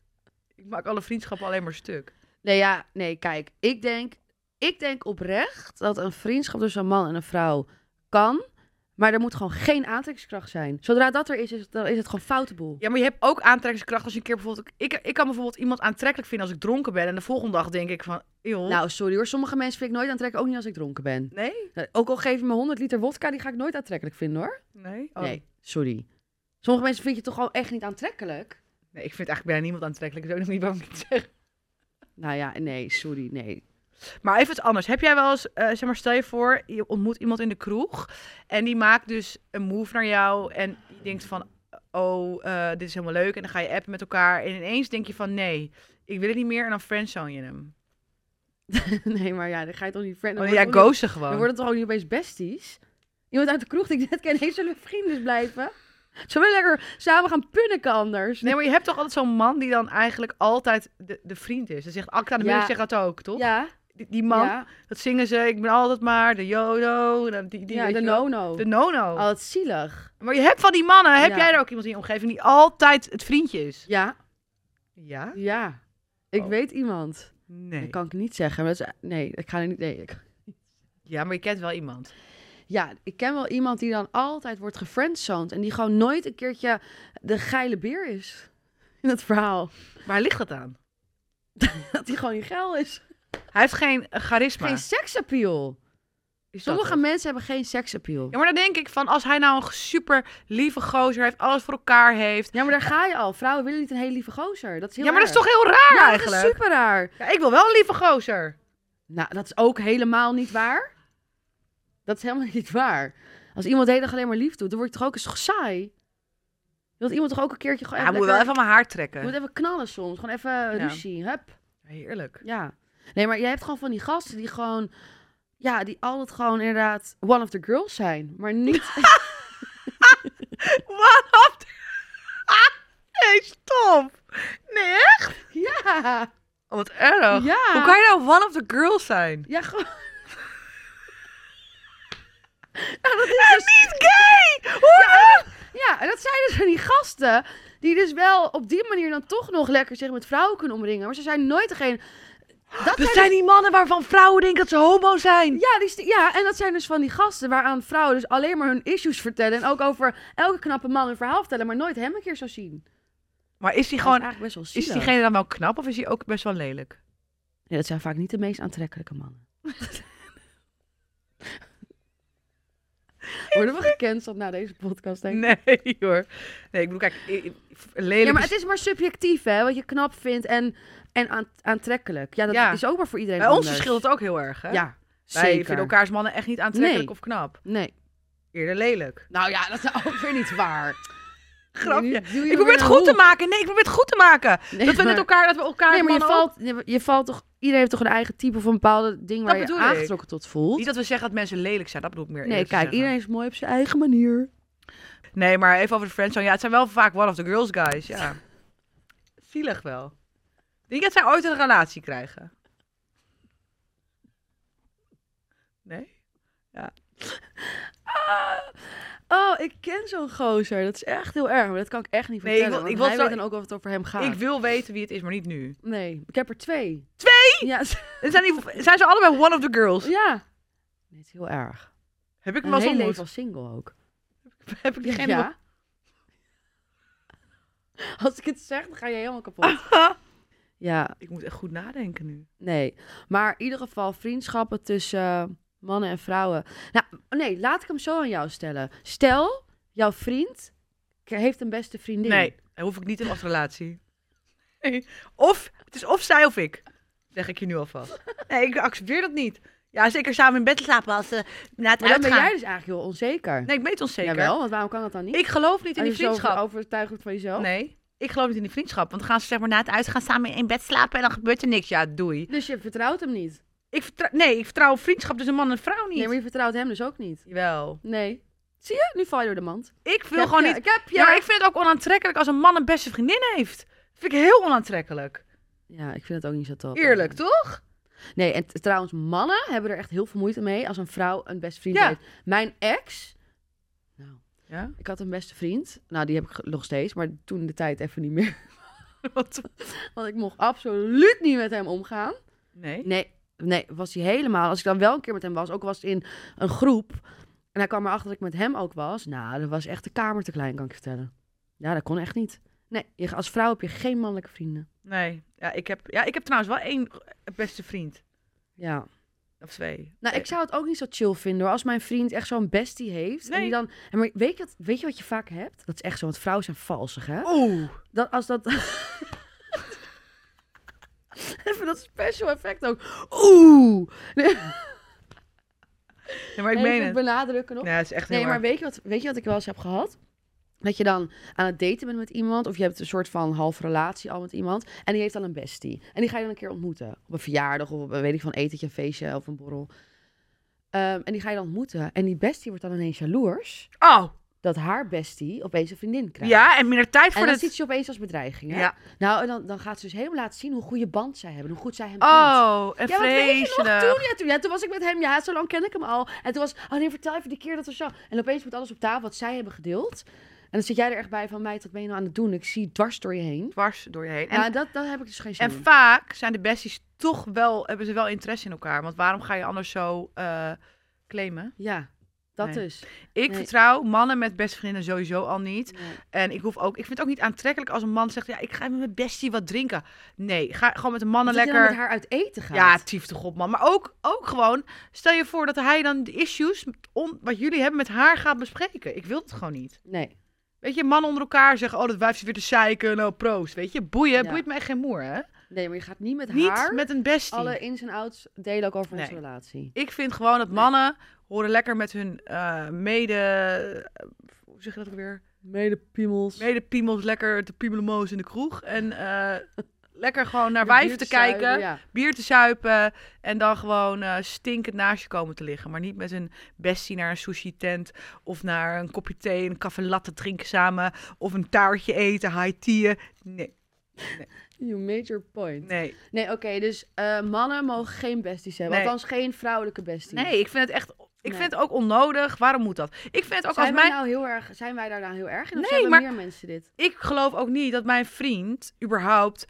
S1: Ik maak alle vriendschappen alleen maar stuk.
S2: Nee, ja, nee, kijk, ik denk, ik denk oprecht dat een vriendschap tussen een man en een vrouw kan, maar er moet gewoon geen aantrekkingskracht zijn. Zodra dat er is, is het, dan is het gewoon foute boel.
S1: Ja, maar je hebt ook aantrekkingskracht als je een keer bijvoorbeeld... Ik, ik kan bijvoorbeeld iemand aantrekkelijk vinden als ik dronken ben. En de volgende dag denk ik van... Joh,
S2: Nou, sorry hoor, sommige mensen vind ik nooit aantrekkelijk, ook niet als ik dronken ben.
S1: nee?
S2: Nou, Ook al geef je me 100 liter wodka, die ga ik nooit aantrekkelijk vinden hoor.
S1: Nee? Oh.
S2: Nee, sorry. Sommige mensen vind je toch gewoon echt niet aantrekkelijk?
S1: Nee, ik vind eigenlijk bijna niemand aantrekkelijk. Dat is ook nog niet waarom ik het zeg.
S2: Nou ja, nee, sorry, nee. *laughs*
S1: Maar even iets anders. Heb jij wel eens, eh, zeg maar, stel je voor, je ontmoet iemand in de kroeg en die maakt dus een move naar jou en je denkt van, oh, eh, dit is helemaal leuk en dan ga je appen met elkaar en ineens denk je van, nee, ik wil het niet meer en dan friendzone je hem.
S2: nee, maar ja, dan ga je toch niet frienden.
S1: Oh,
S2: dan
S1: ja,
S2: wordt het ook
S1: ghosten
S2: niet- Dan
S1: gewoon.
S2: worden het toch ook niet opeens besties? Iemand uit de kroeg die ik net ken, *laughs* heeft zullen we vrienden blijven? Zullen we lekker samen gaan punniken anders?
S1: Nee, maar je hebt toch altijd zo'n man die dan eigenlijk altijd de, de vriend is. Dat zegt Acta de
S2: Ja.
S1: Munich zegt dat ook, toch?
S2: ja,
S1: Die, die man,
S2: ja,
S1: dat zingen ze, ik ben altijd maar de Jodo. en dan Die, die,
S2: ja,
S1: weet
S2: de
S1: je wel.
S2: no-no.
S1: De no-no.
S2: Al het zielig.
S1: Maar je hebt van die mannen, heb
S2: Ja.
S1: jij er ook iemand in je omgeving die altijd het vriendje is?
S2: Ja,
S1: Ja?
S2: ja. Ik
S1: Oh.
S2: weet iemand.
S1: Nee.
S2: Dat kan ik niet zeggen. Maar dat is, nee, ik ga er niet... Nee, ik-
S1: Ja, maar je kent wel iemand.
S2: Ja, ik ken wel iemand die dan altijd wordt gefriendzoned. En die gewoon nooit een keertje de geile beer is. In het verhaal. *laughs*
S1: Waar ligt dat aan?
S2: Dat die gewoon niet geil is.
S1: Hij heeft geen eh, charisma.
S2: Geen seksappeal.
S1: Is dat
S2: Sommige
S1: het?
S2: mensen hebben geen seksappeal.
S1: Ja, maar dan denk ik van, als hij nou een super lieve gozer heeft, alles voor elkaar heeft.
S2: Ja, maar daar ga je al. Vrouwen willen niet een hele lieve gozer. Dat is heel
S1: ja, maar dat is
S2: raar.
S1: toch heel raar
S2: Ja, dat is
S1: eigenlijk?
S2: super raar.
S1: Ja, ik wil wel een lieve gozer.
S2: Nou, dat is ook helemaal niet waar. Dat is helemaal *laughs* niet waar. Als iemand de hele dag alleen maar lief doet, dan word je toch ook eens toch saai. Je wilt iemand toch ook een keertje gewoon
S1: hij moet wel
S2: lekker-
S1: even aan mijn haar
S2: je
S1: trekken.
S2: moet even knallen soms. Gewoon even ruzie. Hup.
S1: *laughs* Heerlijk.
S2: Ja. Nee, maar je hebt gewoon van die gasten die gewoon... Ja, die altijd gewoon inderdaad one of the girls zijn. Maar
S1: *laughs*
S2: niet... *laughs*
S1: What up? *laughs* hey, stop. Nee, echt?
S2: ja.
S1: Oh, wat erg.
S2: Ja.
S1: Hoe kan je nou one of the girls zijn?
S2: Ja, gewoon... *laughs*
S1: En
S2: dus-
S1: niet gay! Hoe dan?
S2: Ja, en dat zijn dus van die gasten die dus wel op die manier dan toch nog lekker zich met vrouwen kunnen omringen. Maar ze zijn nooit degene... Dat
S1: Dat
S2: zijn
S1: zijn die mannen waarvan vrouwen denken dat ze homo zijn.
S2: Ja, die sti- ja, en dat zijn dus van die gasten waaraan vrouwen dus alleen maar hun issues vertellen. En ook over elke knappe man een verhaal vertellen, maar nooit hem een keer zo zien.
S1: Maar is die
S2: Dat is
S1: gewoon,
S2: eigenlijk best wel zielig.
S1: is diegene dan wel knap of is hij ook best wel lelijk?
S2: Nee, dat zijn vaak niet de meest
S1: *laughs*
S2: aantrekkelijke mannen. Worden we gecanceld na deze podcast, denk ik?
S1: Nee *laughs* hoor. Nee, ik bedoel, kijk, i- i- lelijk
S2: Ja, maar
S1: is-
S2: het is maar subjectief, hè? Wat je knap vindt en, en aan- aantrekkelijk. Ja, dat
S1: Ja.
S2: is ook maar voor iedereen
S1: Bij ons
S2: anders.
S1: verschilt het ook heel erg, hè?
S2: Ja,
S1: Wij
S2: zeker.
S1: vinden elkaars mannen echt niet aantrekkelijk
S2: Nee.
S1: of knap.
S2: Nee.
S1: Eerder lelijk.
S2: Nou ja, dat is ook weer niet waar.
S1: *laughs* Grapje.
S2: nu doe je
S1: Ik
S2: er
S1: probeer het
S2: weer
S1: goed te
S2: een
S1: maken. Nee, ik probeer het goed te maken.
S2: Nee,
S1: dat we met
S2: maar-
S1: elkaar, dat we elkaar
S2: Nee, maar je
S1: mannen ook-
S2: valt, je, je valt toch... Iedereen heeft toch een eigen type of een bepaalde ding waar je
S1: bedoel ik.
S2: aangetrokken tot voelt?
S1: Niet dat we zeggen dat mensen lelijk zijn, dat bedoel ik meer.
S2: Nee,
S1: eerlijk te
S2: kijk,
S1: zeggen.
S2: iedereen is mooi op zijn eigen manier.
S1: Nee, maar even over de friendzone. Ja, het zijn wel vaak one of the girls guys, ja. Zielig wel. Denk je dat zij ooit een relatie krijgen? Nee?
S2: Oh, ik ken zo'n gozer. Dat is echt heel erg. Maar dat kan ik echt niet
S1: Nee, ik
S2: vertellen.
S1: wil-
S2: want
S1: ik wil
S2: hij
S1: zo-
S2: weet dan ook of het over hem gaat.
S1: Ik wil weten wie het is, maar niet nu.
S2: Nee, ik heb er twee. Twee? Ja. *laughs* ze-
S1: En zijn, die, zijn ze allebei one of the girls?
S2: ja. Nee, het is heel erg.
S1: Heb ik hem
S2: Een
S1: al
S2: heel
S1: ontmoet?
S2: leven als single ook.
S1: *laughs* Heb ik
S2: Ja.
S1: diegene
S2: ja. *laughs* Als ik het zeg, dan ga je helemaal kapot.
S1: nog-
S2: *laughs* Ja,
S1: Ik moet echt goed nadenken nu.
S2: nee. Maar in ieder geval vriendschappen tussen eh, mannen en vrouwen. Nou, nee, laat ik hem zo aan jou stellen. Stel, jouw vriend k- heeft een beste vriendin.
S1: Nee, dan hoef ik niet een als relatie. Nee. Of, het is of zij of ik. Zeg ik je nu alvast. Nee, ik accepteer dat niet. Ja, zeker samen in bed slapen als ze na het
S2: Maar dan ben
S1: uitgaan.
S2: jij dus eigenlijk heel onzeker.
S1: Nee, ik weet het onzeker.
S2: Jawel, want waarom kan dat dan niet?
S1: Ik geloof niet in
S2: Als
S1: die
S2: je zo
S1: vriendschap.
S2: overtuigd bent van oh, jezelf.
S1: Nee, ik geloof niet in die vriendschap. Want dan gaan ze zeg maar na het uitgaan samen in bed slapen en dan gebeurt er niks. Ja, doei.
S2: Dus je vertrouwt hem niet.
S1: Ik vertrou- nee, ik vertrouw vriendschap tussen man en vrouw niet.
S2: Nee, maar je vertrouwt hem dus ook niet.
S1: Jawel.
S2: Nee. Zie je? Nu val je door de mand.
S1: Ik wil
S2: Ik heb
S1: gewoon
S2: je,
S1: niet...
S2: Ik heb je.
S1: Ja, maar ik vind het ook onaantrekkelijk als een man een beste vriendin heeft. Dat vind ik heel onaantrekkelijk.
S2: Ja, ik vind het ook niet zo tof.
S1: Eerlijk, toch?
S2: Nee, en t- trouwens, mannen hebben er echt heel veel moeite mee als een vrouw een beste vriend
S1: Ja.
S2: heeft. Mijn ex, nou,
S1: Ja?
S2: ik had een beste vriend. Nou, die heb ik ge- nog steeds, maar toen in de tijd even niet meer.
S1: *laughs*
S2: *laughs*
S1: Wat?
S2: Want ik mocht absoluut niet met hem omgaan.
S1: Nee.
S2: Nee, nee, was hij helemaal. Als ik dan wel een keer met hem was, ook was het in een groep. En hij kwam erachter dat ik met hem ook was. Nou, dat was echt de kamer te klein, kan ik je vertellen. Ja, dat kon echt niet. Nee, je, als vrouw heb je geen mannelijke vrienden.
S1: Nee. Ja ik, heb, ja, ik heb trouwens wel één beste vriend.
S2: Ja.
S1: Of twee. Eh,
S2: Nou, ik zou het ook niet zo chill vinden hoor. Als mijn vriend echt zo'n bestie heeft. En
S1: Nee.
S2: die dan. En maar weet, je wat, weet je wat je vaak hebt? Dat is echt zo, want vrouwen zijn valsig, hè?
S1: Oeh.
S2: Dat, als dat. *laughs* Even dat special effect ook. Oeh!
S1: Ja, maar ik
S2: Even
S1: meen het.
S2: benadrukken nog.
S1: Nee, het is echt
S2: Nee,
S1: heel
S2: maar
S1: erg.
S2: weet je, wat, weet je wat ik wel eens heb gehad? Dat je dan aan het daten bent met iemand, of je hebt een soort van half relatie al met iemand, en die heeft dan een bestie. En die ga je dan een keer ontmoeten. Op een verjaardag, of op een, weet ik van, etentje, een feestje, of een borrel. Ehm, en die ga je dan ontmoeten. En die bestie wordt dan ineens jaloers
S1: Oh.
S2: dat haar bestie opeens een vriendin krijgt.
S1: Ja, en minder tijd
S2: en
S1: voor
S2: dan
S1: het...
S2: ziet ze opeens als bedreiging. Hè?
S1: Ja.
S2: Nou, en dan, dan gaat ze dus helemaal laten zien hoe goede band zij hebben, hoe goed zij hem kent.
S1: Oh, en
S2: Ja, wat weet je nog
S1: vreselijk.
S2: toen? Ja, toen, ja, toen was ik met hem. Ja, zo lang ken ik hem al. En toen was, oh nee, vertel even die keer dat we zo... En opeens moet alles op tafel wat zij hebben gedeeld. En dan zit jij er echt bij van, meid, wat ben je nou aan het doen? Ik zie dwars door je heen.
S1: Dwars door je heen. En,
S2: ja, dat, dat heb ik dus geen zin
S1: en
S2: in.
S1: vaak zijn de besties toch wel, hebben ze wel interesse in elkaar. Want waarom ga je anders zo eh, claimen?
S2: Ja, dat
S1: Nee.
S2: dus.
S1: Ik
S2: Nee.
S1: vertrouw mannen met beste vriendinnen sowieso al niet.
S2: Nee.
S1: En ik hoef ook, ik vind het ook niet aantrekkelijk als een man zegt, ja, ik ga met mijn bestie wat drinken. Nee, ga gewoon met de mannen
S2: Dat je dan
S1: lekker.
S2: met haar uit eten gaat.
S1: Ja, tief toch op, man. Maar ook, ook gewoon, stel je voor dat hij dan de issues on- wat jullie hebben met haar gaat bespreken. Ik wil het gewoon niet.
S2: Nee.
S1: Weet je, mannen onder elkaar zeggen, oh, dat wijf zit weer te zeiken, nou, proost. Weet je, boeien,
S2: Ja.
S1: boeit me echt geen moer, hè?
S2: nee, maar je gaat niet met
S1: Niet
S2: haar
S1: met een bestie.
S2: alle ins en outs delen ook over onze
S1: Nee.
S2: relatie.
S1: Ik vind gewoon dat
S2: Nee.
S1: mannen horen lekker met hun eh, mede... eh, Hoe zeg je dat ook weer?
S2: Mede piemels.
S1: Mede piemels lekker te piemelenmoos in de kroeg. En eh, lekker gewoon naar
S2: De
S1: wijven te
S2: buurt zuipen,
S1: kijken,
S2: Ja.
S1: bier te zuipen. En dan gewoon eh, stinkend naast je komen te liggen. Maar niet met hun bestie naar een sushi tent. Of naar een kopje thee, een café latte drinken samen. Of een taartje eten, high tea'en. Nee,
S2: You made your point.
S1: nee.
S2: Nee, oké, dus eh, mannen mogen geen besties hebben.
S1: Nee.
S2: Althans, geen vrouwelijke besties.
S1: Nee, ik vind het echt. Ik
S2: Nee.
S1: vind het ook onnodig. Waarom moet dat? Ik vind het ook als
S2: zijn, wij
S1: mijn.
S2: nou heel erg, zijn wij daar nou heel erg in? Of
S1: Nee,
S2: hebben
S1: maar-
S2: meer mensen dit?
S1: Ik geloof ook niet dat mijn vriend überhaupt.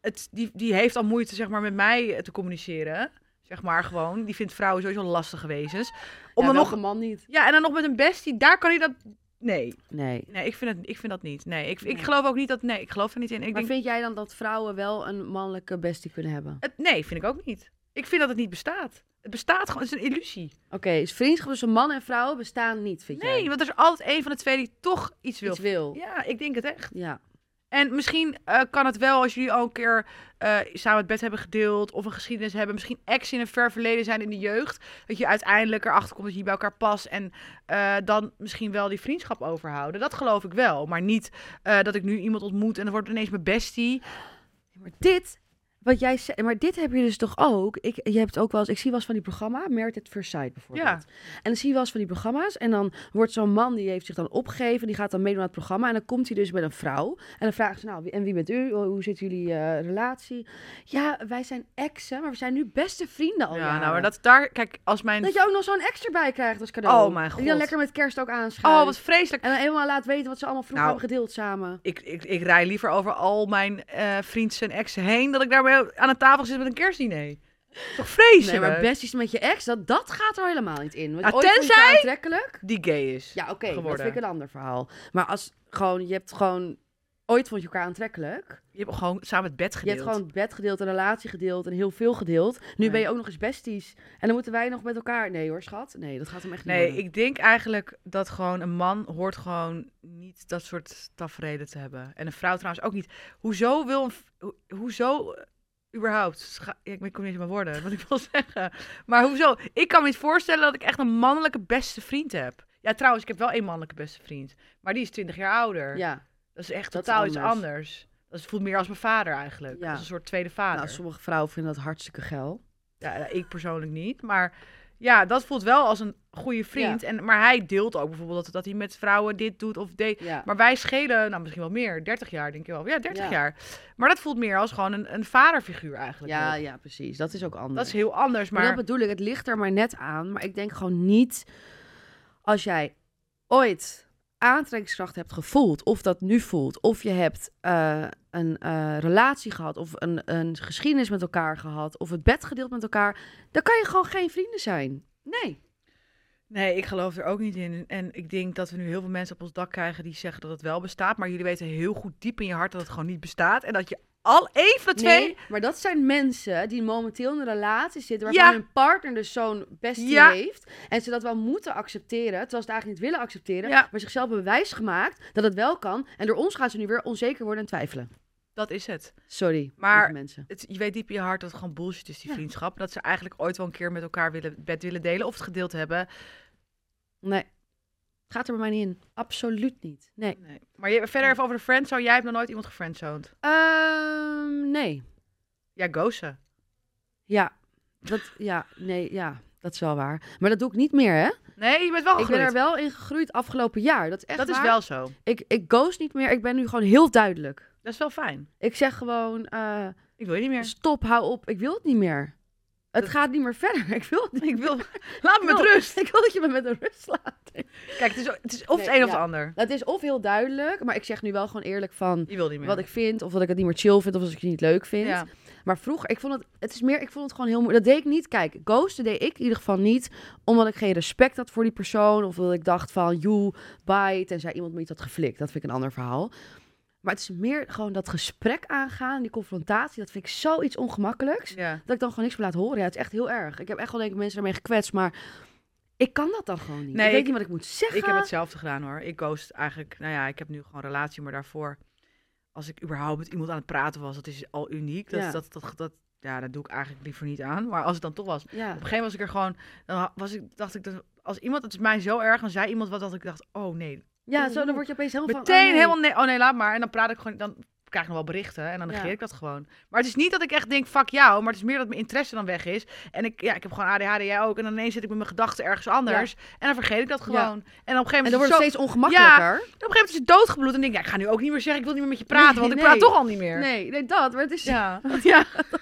S1: Het, die, die heeft al moeite zeg maar, met mij eh, te communiceren. Zeg maar gewoon. Die vindt vrouwen sowieso lastige wezens. Om
S2: ja,
S1: dan nog,
S2: welke man niet.
S1: ja, en dan nog met een bestie. Daar kan hij dat. Nee,
S2: Nee.
S1: nee ik, vind het, ik vind dat niet. Nee, ik, ik
S2: Nee.
S1: geloof ook niet dat. Nee, ik geloof er niet in. Ik
S2: maar
S1: denk,
S2: vind jij dan dat vrouwen wel een mannelijke bestie kunnen hebben?
S1: het, nee, vind ik ook niet. Ik vind dat het niet bestaat. Het bestaat gewoon. Het is een illusie.
S2: Oké, dus vriendschap tussen man en vrouwen bestaan niet, vind jij?
S1: Nee, want er is altijd één van de twee die toch iets wil.
S2: Iets wil. Ja.
S1: Ja, ik denk het echt. En misschien eh, kan het wel als jullie al een keer eh, samen het bed hebben gedeeld of een geschiedenis hebben. Misschien ex in een ver verleden zijn in de jeugd. Dat je uiteindelijk erachter komt dat je bij elkaar past en eh, dan misschien wel die vriendschap overhouden. Dat geloof ik wel. Maar niet eh, dat ik nu iemand ontmoet en dan wordt het ineens mijn bestie.
S2: Maar dit, wat jij zei, maar dit heb je dus toch ook. Ik, je hebt ook wel eens, ik zie wel eens van die programma, Merit at First Sight bijvoorbeeld.
S1: Ja.
S2: En dan zie je wel eens van die programma's. En dan wordt zo'n man, die heeft zich dan opgegeven, die gaat dan meedoen aan het programma. En dan komt hij dus met een vrouw. En dan vraagt ze, nou, wie- en wie bent u? Hoe zit jullie eh, relatie? Ja, wij zijn exen, maar we zijn nu beste vrienden al
S1: ja, nou,
S2: jaren.
S1: maar dat daar, kijk, als mijn.
S2: Oh Dat je ook nog zo'n ex erbij krijgt als cadeau.
S1: Oh, mijn
S2: En die dan
S1: God.
S2: lekker met kerst ook aanschuift.
S1: Oh, wat vreselijk.
S2: En dan helemaal laat weten wat ze allemaal vroeger
S1: Nou.
S2: hebben gedeeld samen.
S1: Ik, ik, ik rij liever over al mijn eh vrienden en exen heen dat ik daarmee aan een tafel zit met een kerstdiner. Toch
S2: Nee,
S1: vreselijk?
S2: maar besties met je ex, dat, dat gaat er helemaal niet in. Want
S1: Ah,
S2: ooit vond je elkaar
S1: tenzij-
S2: aantrekkelijk.
S1: Die gay is.
S2: Ja, oké, dat
S1: geworden.
S2: vind ik een ander verhaal. Maar als gewoon, je hebt gewoon... Ooit vond je elkaar aantrekkelijk.
S1: Je hebt gewoon samen het bed
S2: Je
S1: gedeeld.
S2: hebt gewoon het bed gedeeld, een relatie gedeeld en heel veel gedeeld. Nu
S1: Nee.
S2: ben je ook nog eens besties. En dan moeten wij nog met elkaar... Nee hoor, schat. Nee, dat gaat hem echt niet
S1: Nee,
S2: worden.
S1: ik denk eigenlijk dat gewoon een man hoort gewoon niet dat soort tafereelen te hebben. En een vrouw trouwens ook niet. Hoezo wil een... v- ho- Hoezo eh, überhaupt? Scha- ja, ik kom niet eens op mijn woorden, wat ik *laughs* wil zeggen. Maar hoezo? Ik kan me niet voorstellen dat ik echt een mannelijke beste vriend heb. Ja, trouwens, ik heb wel één mannelijke beste vriend. Maar die is 20 jaar ouder.
S2: Ja,
S1: Dat is echt
S2: Dat is
S1: totaal iets
S2: anders.
S1: anders. Dat voelt meer als mijn vader eigenlijk.
S2: Ja.
S1: Als een soort tweede vader.
S2: nou, sommige vrouwen vinden dat hartstikke geil.
S1: Ja, ik persoonlijk niet. Maar ja, dat voelt wel als een goede vriend. En, maar hij deelt ook bijvoorbeeld dat, dat hij met vrouwen dit doet of deed.
S2: Ja.
S1: Maar wij schelen, nou misschien wel meer, 30 jaar denk je wel. Ja, 30
S2: Ja.
S1: jaar. Maar dat voelt meer als gewoon een, een vaderfiguur eigenlijk.
S2: Ja,
S1: ook.
S2: ja, precies. Dat is ook anders.
S1: Dat is heel anders,
S2: Maar
S1: dus maar...
S2: dat bedoel ik, het ligt er maar net aan. Maar ik denk gewoon niet als jij ooit aantrekkingskracht hebt gevoeld, of dat nu voelt, of je hebt eh, een eh, relatie gehad, of een, een geschiedenis met elkaar gehad, of het bed gedeeld met elkaar, dan kan je gewoon geen vrienden zijn. Nee.
S1: Nee, ik geloof er ook niet in. En ik denk dat we nu heel veel mensen op ons dak krijgen die zeggen dat het wel bestaat. Maar jullie weten heel goed diep in je hart dat het gewoon niet bestaat. En dat je al één van de twee...
S2: Nee, maar dat zijn mensen die momenteel in een relatie zitten waarvan
S1: Ja.
S2: hun partner dus zo'n bestie
S1: Ja.
S2: heeft. En ze dat wel moeten accepteren, terwijl ze het eigenlijk niet willen accepteren.
S1: Ja.
S2: Maar zichzelf bewijs gemaakt dat het wel kan. En door ons gaan ze nu weer onzeker worden en twijfelen.
S1: Dat is het.
S2: Sorry,
S1: Maar-
S2: lieve mensen.
S1: het, je weet diep in je hart dat het gewoon bullshit is, die
S2: Ja.
S1: vriendschap. Dat ze eigenlijk ooit wel een keer met elkaar willen, het bed willen delen of het gedeeld hebben.
S2: Nee. Gaat er bij mij niet in. Absoluut niet. Nee.
S1: Nee. Maar je, verder even over de friendzone. Jij hebt nog nooit iemand gefriendzoned.
S2: Ehm, nee.
S1: Ja, gozen.
S2: Ja. Dat, ja, nee, ja. Dat is wel waar. Maar dat doe ik niet meer, hè?
S1: Nee, je bent wel
S2: Ik ben er
S1: gegroeid.
S2: wel in gegroeid afgelopen jaar. Dat is echt
S1: Dat is
S2: waar.
S1: wel zo.
S2: Ik, ik ghost niet meer. Ik ben nu gewoon heel duidelijk.
S1: Dat is wel fijn. Dus
S2: Ik zeg gewoon, eh,
S1: Ik wil je niet meer.
S2: stop, hou op. Ik wil het niet meer. Het
S1: Dat-
S2: gaat niet meer verder. *laughs* Ik wil het niet.
S1: Ik wil... Laat me *laughs*
S2: Ik
S1: met
S2: wil-
S1: rust.
S2: Ik wil dat je me met een rust laat.
S1: Kijk, het is, het is of het
S2: Nee,
S1: een of
S2: ja.
S1: het ander.
S2: Dat is of heel duidelijk, maar ik zeg nu wel gewoon eerlijk van...
S1: Je wil niet meer.
S2: wat ik vind, of dat ik het niet meer chill vind, of dat ik het niet leuk vind.
S1: Ja.
S2: Maar vroeger, ik vond het, het is meer, ik vond het gewoon heel moeilijk. Dat deed ik niet. Kijk, ghosten deed ik in ieder geval niet, omdat ik geen respect had voor die persoon, of dat ik dacht van, joe, bye, tenzij iemand me iets had geflikt. Dat vind ik een ander verhaal. Maar het is meer gewoon dat gesprek aangaan, die confrontatie, dat vind ik zoiets ongemakkelijks,
S1: Ja.
S2: dat ik dan gewoon niks meer laat horen. Ja, het is echt heel erg. Ik heb echt wel denk ik mensen daarmee gekwetst, maar ik kan dat dan gewoon niet.
S1: Nee,
S2: ik weet
S1: ik-
S2: niet wat ik moet zeggen.
S1: Ik heb hetzelfde gedaan hoor. Ik ghost eigenlijk, nou ja, ik heb nu gewoon een relatie, maar daarvoor, als ik überhaupt met iemand aan het praten was, dat is al uniek. Dat,
S2: Ja.
S1: dat, dat, dat, ja, dat doe ik eigenlijk liever niet aan. Maar als het dan toch was,
S2: Ja.
S1: Op een gegeven moment was ik er gewoon, dan ha- was ik, dacht ik, dat als iemand, het is mij zo erg, dan zei iemand wat dat ik dacht, oh nee,
S2: ja, zo dan word je opeens helemaal
S1: meteen
S2: van, oh nee.
S1: helemaal nee, oh nee, laat maar. En dan praat ik gewoon, dan krijg ik nog wel berichten en dan
S2: Ja.
S1: negeer ik dat gewoon. Maar het is niet dat ik echt denk, fuck jou, maar het is meer dat mijn interesse dan weg is. En ik, ja, ik heb gewoon ADHD, jij ook. En dan ineens zit ik met mijn gedachten ergens anders en dan vergeet ik dat gewoon. En op een gegeven moment
S2: En
S1: is
S2: dan
S1: het
S2: wordt
S1: zo,
S2: het steeds ongemakkelijker.
S1: op een gegeven moment is het doodgebloed en denk ik, ja, ik ga nu ook niet meer zeggen, ik wil niet meer met je praten,
S2: Nee,
S1: want ik
S2: nee.
S1: praat toch al niet meer.
S2: Nee, nee, dat. Maar het is
S1: *laughs* Ja, ja. *laughs* dat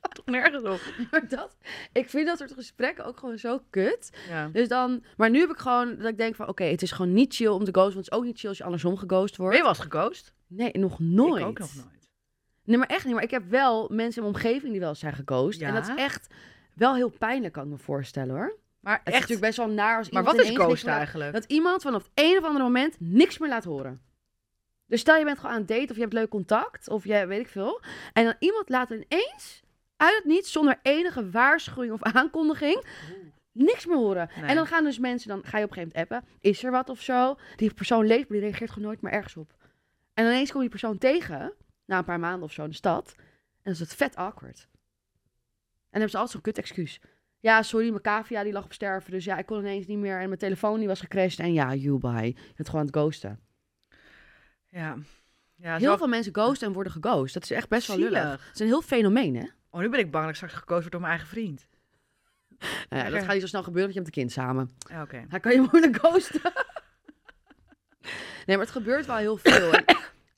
S1: slaat toch nergens op.
S2: *laughs* maar dat. Ik vind dat soort gesprekken ook gewoon zo kut.
S1: Ja.
S2: Dus dan. Maar nu heb ik gewoon dat ik denk van, oké, het is gewoon niet chill om te ghosten. Want het is ook niet chill als je andersom geghost
S1: Ben je
S2: wordt.
S1: wel eens geghost?
S2: Nee, nog nooit.
S1: Ik ook nog nooit.
S2: Nee, maar echt niet. Maar ik heb wel mensen in mijn omgeving die wel eens zijn geghost. En
S1: Ja?
S2: dat is echt wel heel pijnlijk, kan ik me voorstellen, hoor. Het
S1: Maar
S2: is
S1: echt,
S2: natuurlijk best wel naar als
S1: maar
S2: iemand
S1: wat is
S2: ineens niks
S1: ghost
S2: meer laat-
S1: eigenlijk?
S2: Dat iemand vanaf het een of andere moment niks meer laat horen. Dus stel je bent gewoon aan het daten of je hebt leuk contact of je weet ik veel. En dan iemand laat ineens uit het niets zonder enige waarschuwing of aankondiging niks meer horen.
S1: Nee.
S2: En dan gaan dus mensen, dan ga je op een gegeven moment appen. Is er wat of zo? Die persoon leeft, maar die reageert gewoon nooit meer ergens op. En ineens kom je die persoon tegen, na een paar maanden of zo in de stad. En dan is het vet awkward. En dan hebben ze altijd zo'n kut excuus. Ja, sorry, mijn cavia die lag op sterven. Dus ja, ik kon ineens niet meer. En mijn telefoon die was gecrashed. En ja, you bye. Je bent gewoon aan het ghosten.
S1: Ja. ja
S2: heel
S1: zo-
S2: veel mensen ghosten en worden geghost. Dat is echt best wel lullig.
S1: Zielig.
S2: Het is een heel fenomeen, hè?
S1: Oh, nu ben ik bang dat ik straks gekozen word door mijn eigen vriend.
S2: Nou ja, dat gaat niet zo snel gebeuren, want je hebt een kind samen.
S1: Ja, Oké.
S2: Hij kan je moeilijk ghosten. nee, maar het gebeurt wel heel veel.
S1: *coughs*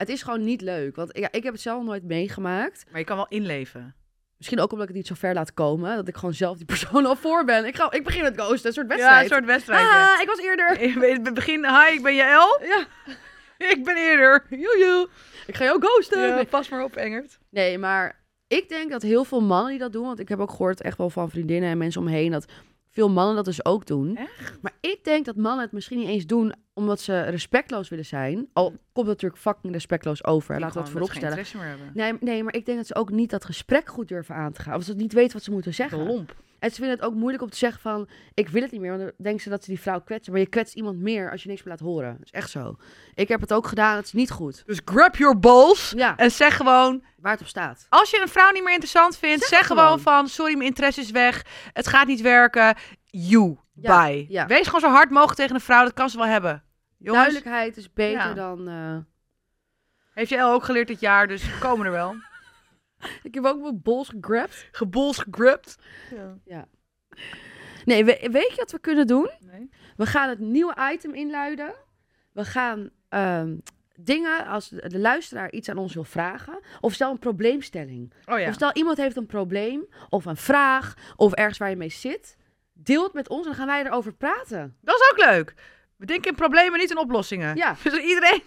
S2: En het is gewoon niet leuk. Want ja, ik heb het zelf nooit meegemaakt.
S1: Maar je kan wel inleven.
S2: Misschien ook omdat ik het niet zo ver laat komen. Dat ik gewoon zelf die persoon *laughs* al voor ben. Ik, ga, ik begin met ghosten, een soort
S1: Ja,
S2: wedstrijd.
S1: een soort wedstrijd.
S2: Ah, ik was eerder.
S1: In het begin, hi, ik ben Jaël.
S2: Ja,
S1: *laughs* Ik ben eerder. Joejoe.
S2: ik ga jou ghosten.
S1: Ja,
S2: Nee.
S1: pas maar op, Engert.
S2: Nee, maar ik denk dat heel veel mannen die dat doen... want ik heb ook gehoord echt wel van vriendinnen en mensen omheen... dat veel mannen dat dus ook doen. Maar ik denk dat mannen het misschien niet eens doen... omdat ze respectloos willen zijn. Al komt het natuurlijk fucking respectloos over. Laten we dat voorop
S1: geen
S2: stellen.
S1: interesse meer hebben.
S2: Nee, nee, maar ik denk dat ze ook niet dat gesprek goed durven aan te gaan. Of ze niet weten wat ze moeten zeggen.
S1: lomp.
S2: En ze vinden het ook moeilijk om te zeggen van... ik wil het niet meer, want dan denken ze dat ze die vrouw kwetsen. Maar je kwetst iemand meer als je niks meer laat horen. Dat is echt zo. Ik heb het ook gedaan, het is niet goed.
S1: Dus grab your balls
S2: Ja,
S1: en zeg gewoon...
S2: waar het op staat.
S1: Als je een vrouw niet meer interessant vindt, zeg, gewoon.
S2: gewoon.
S1: van... Sorry, mijn interesse is weg. Het gaat niet werken. You.
S2: Ja,
S1: Bye.
S2: ja.
S1: Wees gewoon zo hard mogelijk tegen een vrouw. Dat kan ze wel hebben. Jongens,
S2: Duidelijkheid is beter
S1: Ja.
S2: dan... eh,
S1: heeft jij ook geleerd dit jaar, dus we komen er *laughs* wel.
S2: Ik heb ook mijn bols gegrabt.
S1: Gebols gegript.
S2: Nee, we- weet je wat we kunnen doen?
S1: Nee.
S2: We gaan het nieuwe item inluiden. We gaan ehm, dingen, als de de luisteraar iets aan ons wil vragen... of stel een probleemstelling...
S1: Oh ja.
S2: Of stel iemand heeft een probleem of een vraag of ergens waar je mee zit. Deel het met ons en dan gaan wij erover praten.
S1: Dat is ook leuk. We denken in problemen, niet in oplossingen.
S2: Ja.
S1: *laughs* Dus iedereen,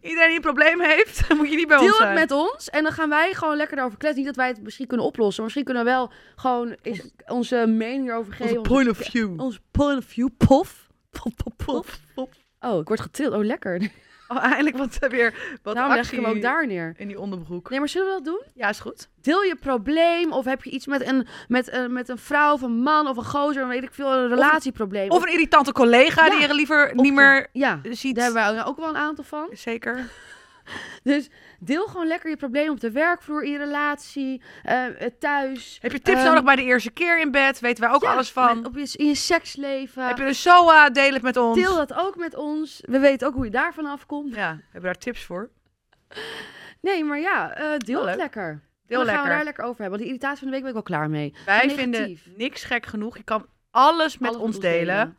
S1: iedereen die een probleem heeft, *laughs* moet je niet bij ons
S2: Deel het
S1: zijn.
S2: met ons en dan gaan wij gewoon lekker erover kletsen. Niet dat wij het misschien kunnen oplossen, maar misschien kunnen we wel gewoon eens onze mening erover geven.
S1: Onze point of view.
S2: onze point of view, pof.
S1: Pop, pop, pop, pop.
S2: Oh, ik word getild. Oh, lekker.
S1: Oh, eindelijk wat eh, weer wat
S2: Daarom leg ik
S1: actie
S2: hem ook daar neer.
S1: in die onderbroek.
S2: Nee, maar zullen we dat doen?
S1: Ja, is goed.
S2: Deel je probleem of heb je iets met een, met een, met een vrouw of een man of een gozer, weet ik veel, een relatieprobleem.
S1: Of een irritante collega
S2: Ja.
S1: die je liever
S2: Of-
S1: niet meer
S2: Ja,
S1: ziet.
S2: daar hebben we ook wel een aantal van.
S1: Zeker.
S2: Dus deel gewoon lekker je probleem op de werkvloer, in je relatie, eh, eh, thuis.
S1: Heb je tips
S2: Ehm,
S1: nodig bij de eerste keer in bed? Weten wij ook
S2: Ja,
S1: alles van.
S2: met- op je, in je seksleven.
S1: Heb je een SOA? Deel het met ons.
S2: Deel dat ook met ons. We weten ook hoe je daarvan afkomt.
S1: Ja, hebben we daar tips voor?
S2: Nee, maar ja, eh, deel
S1: Oh,
S2: het
S1: leuk.
S2: lekker.
S1: Deel
S2: dan gaan we
S1: lekker.
S2: daar lekker over hebben. Want die irritatie van de week ben ik wel klaar mee.
S1: Wij
S2: Negatief.
S1: vinden niks gek genoeg. Je kan alles met
S2: Alles
S1: ons delen.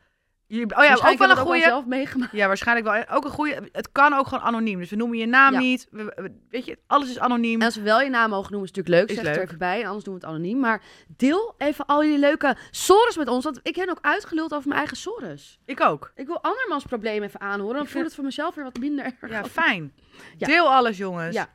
S1: Je- oh ja,
S2: Waarschijnlijk
S1: ook wel
S2: hebben
S1: een
S2: we het
S1: goede.
S2: zelf meegemaakt.
S1: Ja, waarschijnlijk wel. En Ook een goede. Het kan ook gewoon anoniem. Dus we noemen je naam
S2: Ja.
S1: niet. We- we- weet je, alles is anoniem.
S2: En als we wel je naam mogen noemen, is het natuurlijk leuk.
S1: Is
S2: Zeg het er
S1: leuk.
S2: even bij, anders doen we het anoniem. Maar deel even al jullie leuke sores met ons. Want ik heb ook uitgeluld over mijn eigen sores.
S1: Ik ook.
S2: Ik wil andermans probleem even aanhoren. Dan
S1: Ik
S2: voelt
S1: vind-
S2: het voor mezelf weer wat minder erg.
S1: Ja, fijn.
S2: Ja.
S1: Deel alles, jongens.
S2: Ja.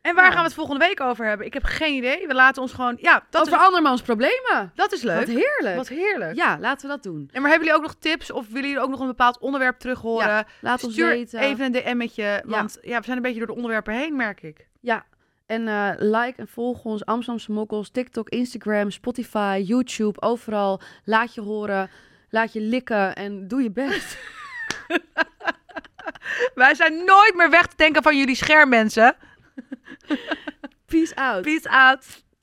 S1: En waar
S2: Nou.
S1: gaan we het volgende week over hebben? Ik heb geen idee. We laten ons gewoon. Ja, dat,
S2: Over
S1: is,
S2: andermans problemen.
S1: dat is leuk.
S2: Wat heerlijk.
S1: Wat heerlijk.
S2: Ja, laten we dat doen.
S1: En maar hebben jullie ook nog tips? Of willen jullie ook nog een bepaald onderwerp terug horen?
S2: Laat ons
S1: Stuur
S2: weten.
S1: even een DM'tje.
S2: Ja.
S1: Want ja, we zijn een beetje door de onderwerpen heen, merk ik.
S2: Ja. En eh, like en volg ons Amsterdamse Mokkels, TikTok, Instagram, Spotify, YouTube, overal. Laat je horen, laat je likken en doe je best. *laughs*
S1: Wij zijn nooit meer weg te denken van jullie scherm, mensen.
S2: Peace out.
S1: Peace out.